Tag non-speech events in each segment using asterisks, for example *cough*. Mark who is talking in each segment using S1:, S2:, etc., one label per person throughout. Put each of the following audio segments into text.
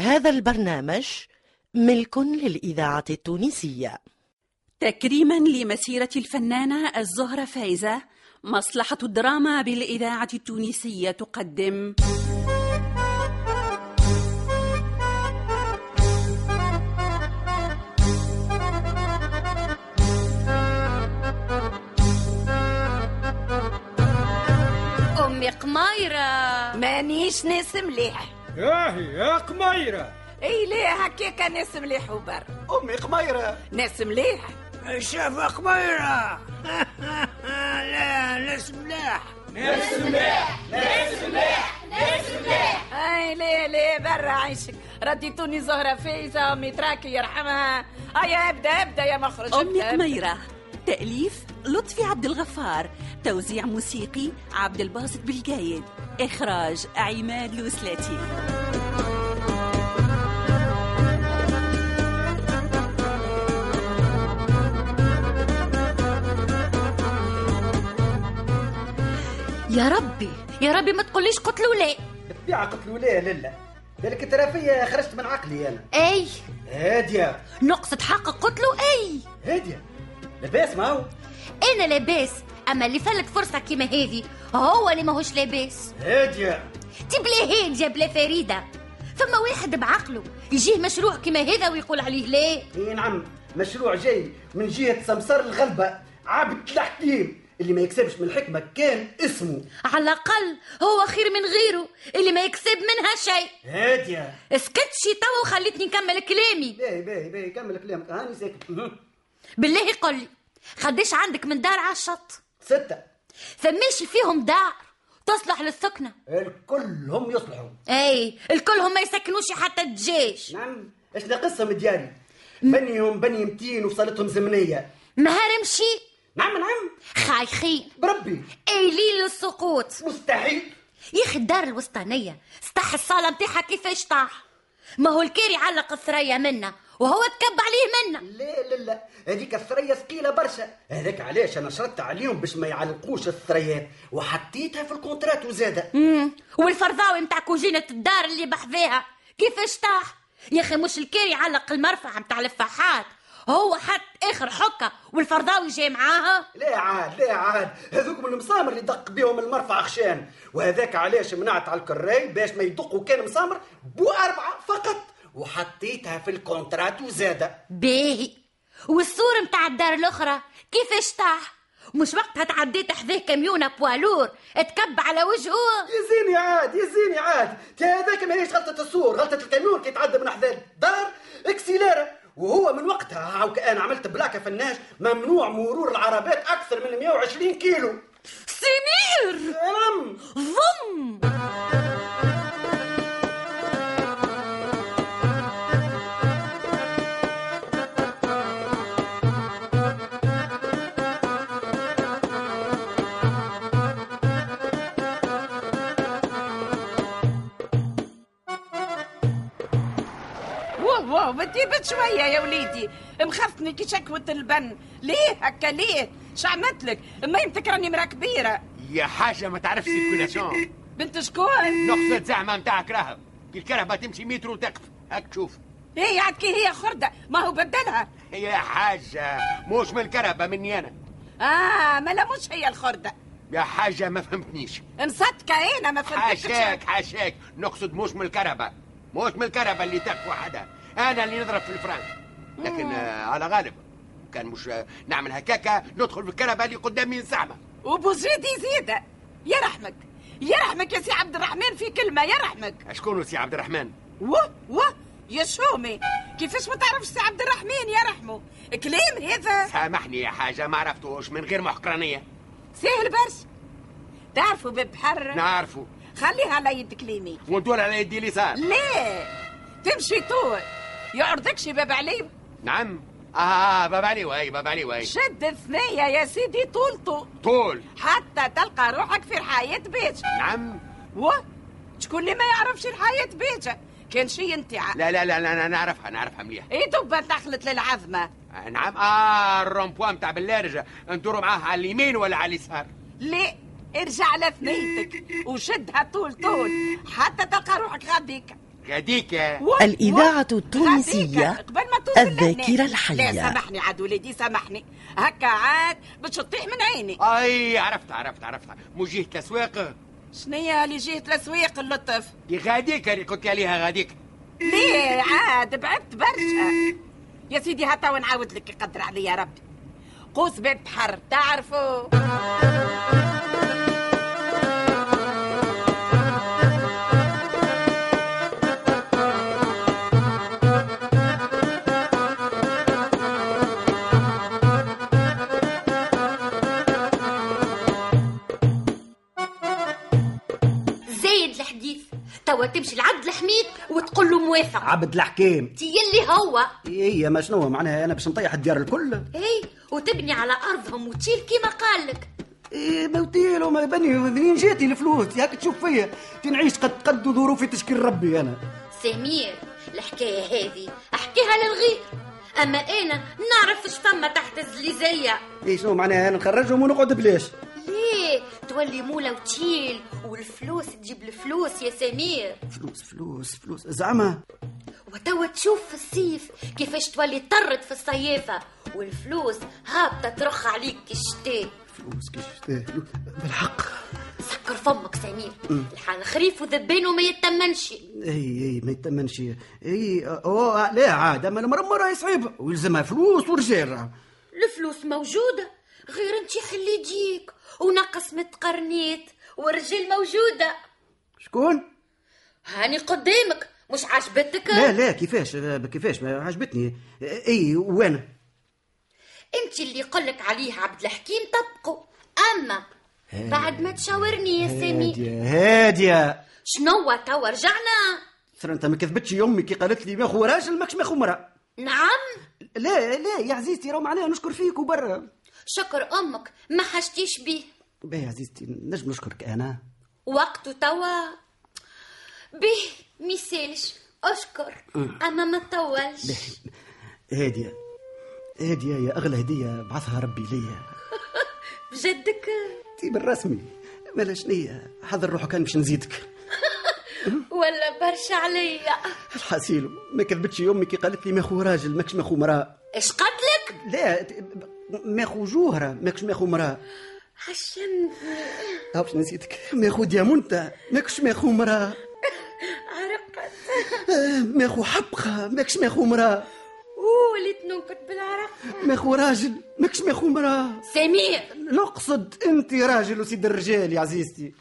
S1: هذا البرنامج ملك للإذاعة التونسية
S2: تكريما لمسيرة الفنانة الزهرة فايزة مصلحة الدراما بالإذاعة التونسية تقدم
S3: أمي قميرة
S4: مانيش ناس مليح
S5: ياهي يا قميرة
S4: اي لا هكاك ناس مليح وبر
S6: أمي قميرة
S4: ناس مليح
S7: شاف قميرة *laughs* لا ناس ملاح
S4: اي لا لا برا عيشك رديتوني زهرة فايزة امي تراكي يرحمها ايا ابدا ابدا يا مخرج
S2: أمي
S4: ابدأ، ابدأ.
S2: قميرة تأليف لطفي عبد الغفار توزيع موسيقي عبد الباسط بالجايد إخراج عماد لوسلاتي
S3: يا ربي يا ربي ما تقوليش قتلوا لا
S6: الطبيعة قلت له لا لا لا بالك ترى فيا خرجت من عقلي أنا
S3: أي
S6: هادية
S3: نقصد حق قتلوا أي
S6: هادية لاباس ما هو
S3: أنا لاباس أما اللي فلت فرصة كيما هذه هو اللي ماهوش لاباس
S6: هادية
S3: تي بلا هادية بلا فريدة فما واحد بعقله يجيه مشروع كيما هذا ويقول عليه لا
S6: اي نعم مشروع جاي من جهة سمسار الغلبة عبد الحكيم اللي ما يكسبش من الحكمة كان اسمه
S3: على الأقل هو خير من غيره اللي ما يكسب منها شيء
S6: هادية
S3: اسكت شي توا وخليتني نكمل كلامي
S6: باهي باهي باهي كمل آه، كلامك هاني ساكت مهم.
S3: بالله قل لي خديش عندك من دار على الشط
S6: ستة
S3: فماشي فيهم دار تصلح للسكنه
S6: الكل هم يصلحوا
S3: اي الكل هم ما يسكنوش حتى الدجاج
S6: نعم اش ناقصهم دياري بنيهم بني متين وصلتهم زمنية
S3: مهار مشي
S6: نعم نعم
S3: خايخين
S6: بربي
S3: قايلين للسقوط
S6: مستحيل
S3: يا اخي الدار الوسطانيه سطح الصاله نتاعها كيفاش طاح ما هو الكيري علق الثريا منا وهو تكب عليه منا
S6: لا لا لا هذيك الثريا ثقيله برشا هذاك علاش انا شرطت عليهم باش ما يعلقوش الثريات وحطيتها في الكونترات وزاده
S3: مم. والفرضاوي نتاع كوجينه الدار اللي بحذاها كيفاش طاح يا اخي مش الكيري علق المرفع نتاع الفحات هو حط اخر حكه والفرضاوي جاي معاها
S6: لا عاد لا عاد هذوك من المسامر اللي دق بيهم المرفع خشان وهذاك علاش منعت على الكراي باش ما يدقوا كان مسامر بو اربعه فقط وحطيتها في الكونترات وزاده
S3: باهي والسور متاع الدار الاخرى كيفاش طاح مش وقتها تعديت حذاه كاميون بوالور اتكب على وجهه
S6: يزيني عاد يزيني عاد تا هذاك ماهيش غلطه السور غلطه الكاميون كي تعدى من حدا الدار اكسيلاره وهو من وقتها هاو انا عملت بلاكه في الناس ممنوع مرور العربات اكثر من 120 كيلو
S3: سمير
S6: رم
S3: ضم
S4: واه واه ما تيبت شويه يا وليدي مخفتني كي شكوت البن ليه هكا ليه شو عملت لك ميمتك راني مرا كبيره
S7: يا حاجة ما تعرفش الكولاسيون
S4: بنت شكون
S7: نقصد زعمة متاعك راهب كي الكرهبة تمشي متر وتقف هاك تشوف
S4: هي عاد كي هي خرده ما هو بدلها
S7: يا حاجة مش من الكرهبة مني أنا
S4: اه ما لا مش هي الخرده
S7: يا حاجة ما فهمتنيش
S4: مصدقه انا ما فهمتكش
S7: حاشاك حاشاك نقصد مش من الكرهبة مش من الكرهبة اللي تقف وحدها أنا اللي نضرب في الفرنك لكن آه على غالب كان مش آه، نعمل هكاكا ندخل في الكرهبة اللي قدامي زعمة
S4: وبوزيدي زيدة يرحمك يرحمك يا سي عبد الرحمن في كلمة يرحمك
S7: شكون سي عبد الرحمن
S4: وه وه يا شومي كيفاش ما تعرفش سي عبد الرحمن يرحمه كلام هذا
S7: سامحني يا حاجة ما عرفتوش من غير محقرانية
S4: سهل برشا تعرفوا
S6: نعم.
S4: ببحر
S7: نعرفه
S4: خليها على يد كليمي
S7: وندور على يدي اليسار
S4: ليه تمشي طول يعرضكش باب علي
S7: نعم اه بابا علي واي بابا علي واي
S4: شد الثنية يا سيدي طولته
S7: طول
S4: حتى تلقى روحك في رحاية بيج
S7: نعم
S4: وه شكون اللي ما يعرفش رحاية بيجة كان شي انتعاء
S7: لا لا لا لا أنا نعرفها نعرفها مليح
S4: ايه دبة دخلت للعظمة
S7: آه، نعم اه الرومبوا نتاع بالارجة ندوروا معاه على اليمين ولا على اليسار
S4: ليه ارجع لثنيتك وشدها طول طول حتى تلقى روحك غاديك
S7: غاديك
S4: و- و-
S1: الإذاعة التونسية
S4: غاديك، قبل ما توصل
S1: الذاكرة
S4: لهنا.
S1: الحية.
S4: لا سامحني عاد وليدي سامحني هكا عاد باش تطيح من عيني
S7: اي عرفت عرفت عرفت موجهة الاسواق
S4: شنيا اللي جهة الأسويق اللطف
S7: دي غاديك اللي قلت عليها غاديك
S4: ليه عاد بعدت برشا يا سيدي هتا ونعاود لك يقدر عليا ربي قوس باب بحر تعرفوا
S3: زايد الحديث توا تمشي لعبد الحميد وتقول له موافق
S6: عبد الحكيم إيه،
S3: تي اللي هو
S6: هي ما شنو معناها انا باش نطيح الديار الكل
S3: اي وتبني على ارضهم وتشيل كيما قالك
S6: ايه موتيل وما بني منين جاتي الفلوس ياك تشوف فيا تنعيش قد قد ظروفي تشكي ربي انا
S3: سمير الحكايه هذه احكيها للغير اما انا نعرف اش فما تحت الزليزيه
S6: ايه شنو معناها انا نخرجهم ونقعد بلاش
S3: ليه تولي مولى وتشيل والفلوس تجيب الفلوس يا سمير
S6: فلوس فلوس فلوس زعما
S3: وتوا تشوف في الصيف كيفاش تولي طرد في الصيافه والفلوس هابطه ترخ عليك كي الشتاء
S6: فلوس كيش تاه، فلوس. بالحق
S3: سكر فمك سمير الحال خريف وذبان وما يتمنش
S6: اي اي إيه، ما يتمنش اي اوه لا عاد اما المرمى راهي صعيبه ويلزمها فلوس ورجال
S3: الفلوس موجودة غير انت حلي جيك ونقص متقرنيت والرجال موجودة
S6: شكون؟
S3: هاني قدامك مش عجبتك
S6: لا لا كيفاش آه، كيفاش ما عجبتني آه، اي وانا
S3: انت اللي يقولك عليه عبد الحكيم طبقه اما بعد ما تشاورني يا سامي
S6: هاديه هاديه
S3: شنو توا رجعنا
S6: ترى انت ما كذبتش يامي كي قالت لي ما خو راجل ماكش ما خو مرأة.
S3: نعم
S6: لا لا يا عزيزتي راه معناها نشكر فيك وبرا
S3: شكر امك ما حشتيش بيه
S6: باهي يا عزيزتي نجم نشكرك انا
S3: وقته توا به ميسالش اشكر اما ما تطولش
S6: هاديه هاديه يا اغلى هديه بعثها ربي ليا
S3: بجدك
S6: انتي بالرسمي مالا شنية حضر روحك انا باش نزيدك
S3: ولا برشا عليا
S6: الحاسيل ما كذبتش يامي كي قالت لي ما خو راجل ماكش ما خو مرأة.
S3: اش قتلك؟
S6: لا ما خو جوهره ماكش ما خو مرأة.
S3: عشمتني
S6: هاو باش نسيتك ماخو ديامونتا ماكش ماخو مرا
S3: عرقت
S6: ماخو حبقة ماكش ماخو مرا
S3: اوه وليت ننكت بالعرق
S6: ماخو راجل ماكش ماخو مرا
S3: سمير
S6: نقصد انت راجل وسيد الرجال يا عزيزتي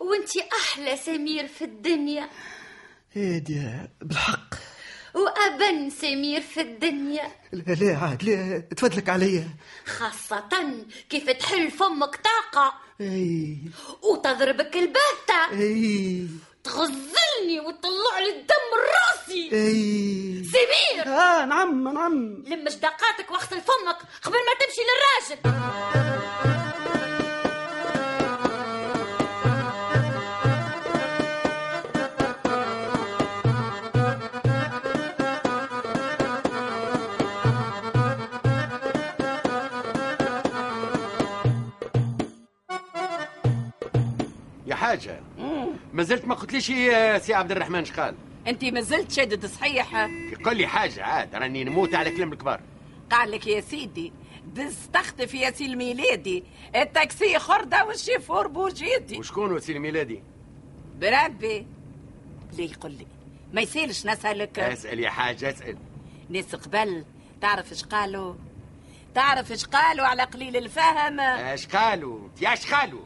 S3: وانتي احلى سمير في الدنيا
S6: هادي بالحق
S3: وابن سمير في الدنيا
S6: لا لا عاد لا تفضلك عليا
S3: خاصة كيف تحل فمك طاقة
S6: اي
S3: وتضربك البتة
S6: اي
S3: تغزلني وتطلع لي الدم من
S6: إيه.
S3: راسي
S6: اي
S3: سمير
S6: اه نعم نعم
S3: لم جداقاتك واغسل فمك قبل ما تمشي للراجل
S7: يا حاجه ما زلت ما قلتليش إيه سي عبد الرحمن شقال
S4: انت مازلت شادد صحيح
S7: يقول لي حاجه عاد راني نموت على كلام الكبار
S4: قال لك يا سيدي دز تخطف يا سي الميلادي التاكسي خردة والشيفور بورجيتي
S7: وشكون وسيل ميلادي
S4: بربي ليه يقول لي ما يسالش نسألك
S7: اسال يا حاجه اسال
S4: ناس قبل تعرف اش قالوا تعرف اش قالوا على قليل الفهم
S7: اش قالوا يا اش قالوا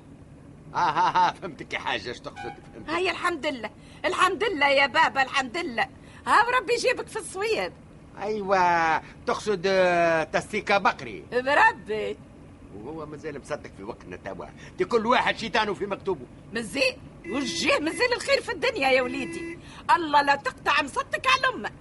S7: اه ها ها فهمتك يا حاجه اش تقصد فهمت
S4: هاي الحمد لله الحمد لله يا بابا الحمد لله ها ربي يجيبك في الصويد
S7: ايوه تقصد آه، تستيكا بقري
S4: بربي
S7: وهو مازال مصدق في وقتنا توا دي كل واحد شيطانه في مكتوبه
S4: مزي وجيه مازال الخير في الدنيا يا وليدي الله لا تقطع مصدك على امك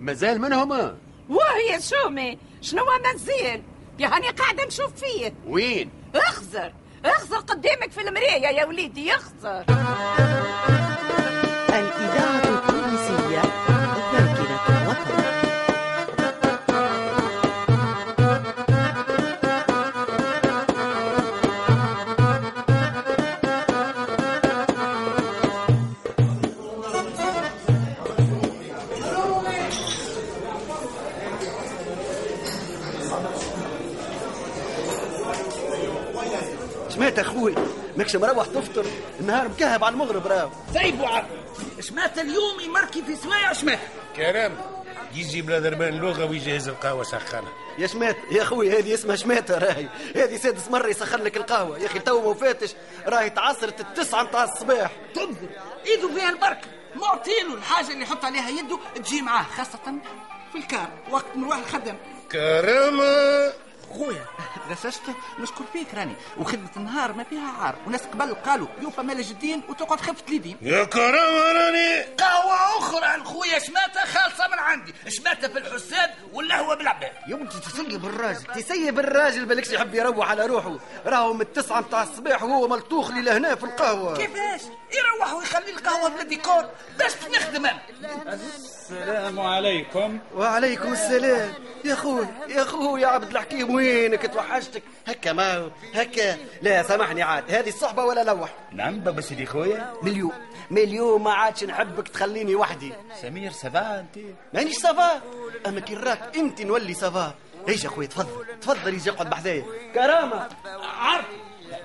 S7: مازال منهم آه.
S4: وهي شومي شنو مازال يا هاني قاعده نشوف فيه
S7: وين
S4: اخزر اخزر قدامك في المرايه يا وليدي اخزر
S1: الإذاعة التونسية ذاكرة الوطن
S6: مات اخوي ماكش مروح تفطر النهار مكهب على المغرب راهو
S7: سيبوا عقلي سمعت اليوم يمركي في سمايع شمال
S8: كلام يجي بلا دربان لغه ويجهز القهوه سخانه
S6: يا شمات يا اخوي هذه اسمها شماتة راهي هذه سادس مرة يسخر لك القهوة يا اخي تو ما وفاتش راهي تعصرت التسعة نتاع الصباح
S7: تبدو ايده فيها البركه معطيله الحاجه اللي يحط عليها يده تجي معاه خاصه في الكار وقت نروح الخدم
S8: كرامه
S7: خويا غسشت نشكر فيك راني وخدمة النهار ما فيها عار وناس قبل قالوا يوفى مال جدين وتقعد خفة اليدين
S8: يا كرامه راني
S7: قهوة أخرى عن خويا شماتة خالصة من عندي شماتة في الحساد واللهوة بالعباد
S6: يا ولدي تسيب الراجل تسيب الراجل بالكش يحب يروح على روحه راهو من التسعة نتاع الصباح وهو ملطوخ لي لهنا في القهوة
S7: كيفاش يروح ويخلي القهوة في الديكور باش نخدم أنا.
S9: السلام عليكم
S6: وعليكم السلام يا خوي يا خوي يا عبد الحكيم وينك توحشتك هكا ما هو، هكا لا سامحني عاد هذه الصحبة ولا لوح
S10: نعم بابا سيدي خويا
S6: مليون مليون ما عادش نحبك تخليني وحدي
S10: سمير سافا انت
S6: مانيش سافا اما كي راك انت نولي سافا ايش يا خويا تفضل تفضل يجي اقعد بحذايا كرامه
S7: عرض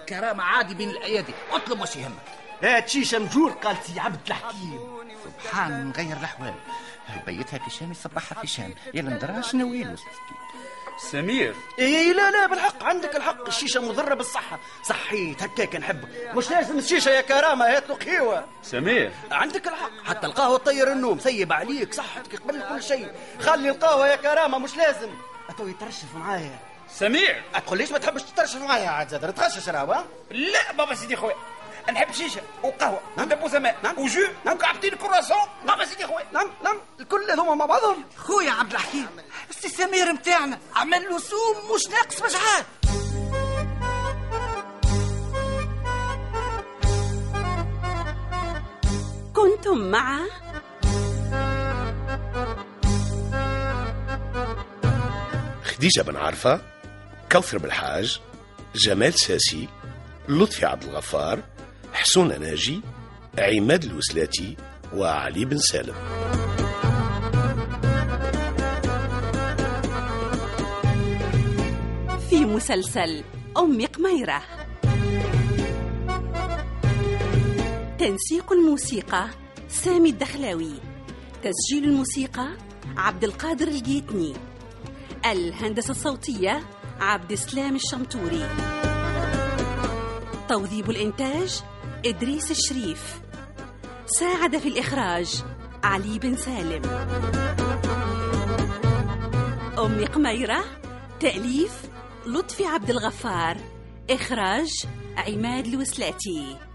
S7: كرامة عادي بين الأيادي اطلب واش يهمك
S6: هات شيشه مجور قالت يا عبد الحكيم
S7: سبحان مغير الأحوال بيتها في شام يصبحها في شام يلا ندرها شنو ويلو
S10: سمير
S6: اي لا لا بالحق عندك الحق الشيشه مضره بالصحه صحيت هكاك نحبك مش لازم الشيشه يا كرامه هات له قهوه
S10: سمير
S6: عندك الحق حتى القهوه تطير النوم سيب عليك صحتك قبل كل شيء خلي القهوه يا كرامه مش لازم اتو يترشف معايا
S10: سمير
S6: تقول ليش ما تحبش تترشف معايا عاد زاد تغشش راهو
S10: لا بابا سيدي خويا نحب شيشه وقهوه
S8: نعم.
S10: ودبوسه ماء وجو وكعبتين كراسون بابا سيدي خويا
S6: نعم نعم الكل هذوما مع بعضهم
S7: خويا عبد الحكيم السي سمير متاعنا عمل له سوم مش ناقص مجعات
S2: كنتم مع
S8: خديجه بن عرفه كوثر بالحاج جمال ساسي لطفي عبد الغفار حسون ناجي عماد الوسلاتي وعلي بن سالم
S2: في مسلسل أم قميرة تنسيق الموسيقى سامي الدخلاوي تسجيل الموسيقى عبد القادر الجيتني الهندسة الصوتية عبد السلام الشمتوري توظيب الإنتاج إدريس الشريف ساعد في الإخراج علي بن سالم أم قميرة تأليف لطفي عبد الغفار إخراج عماد الوسلاتي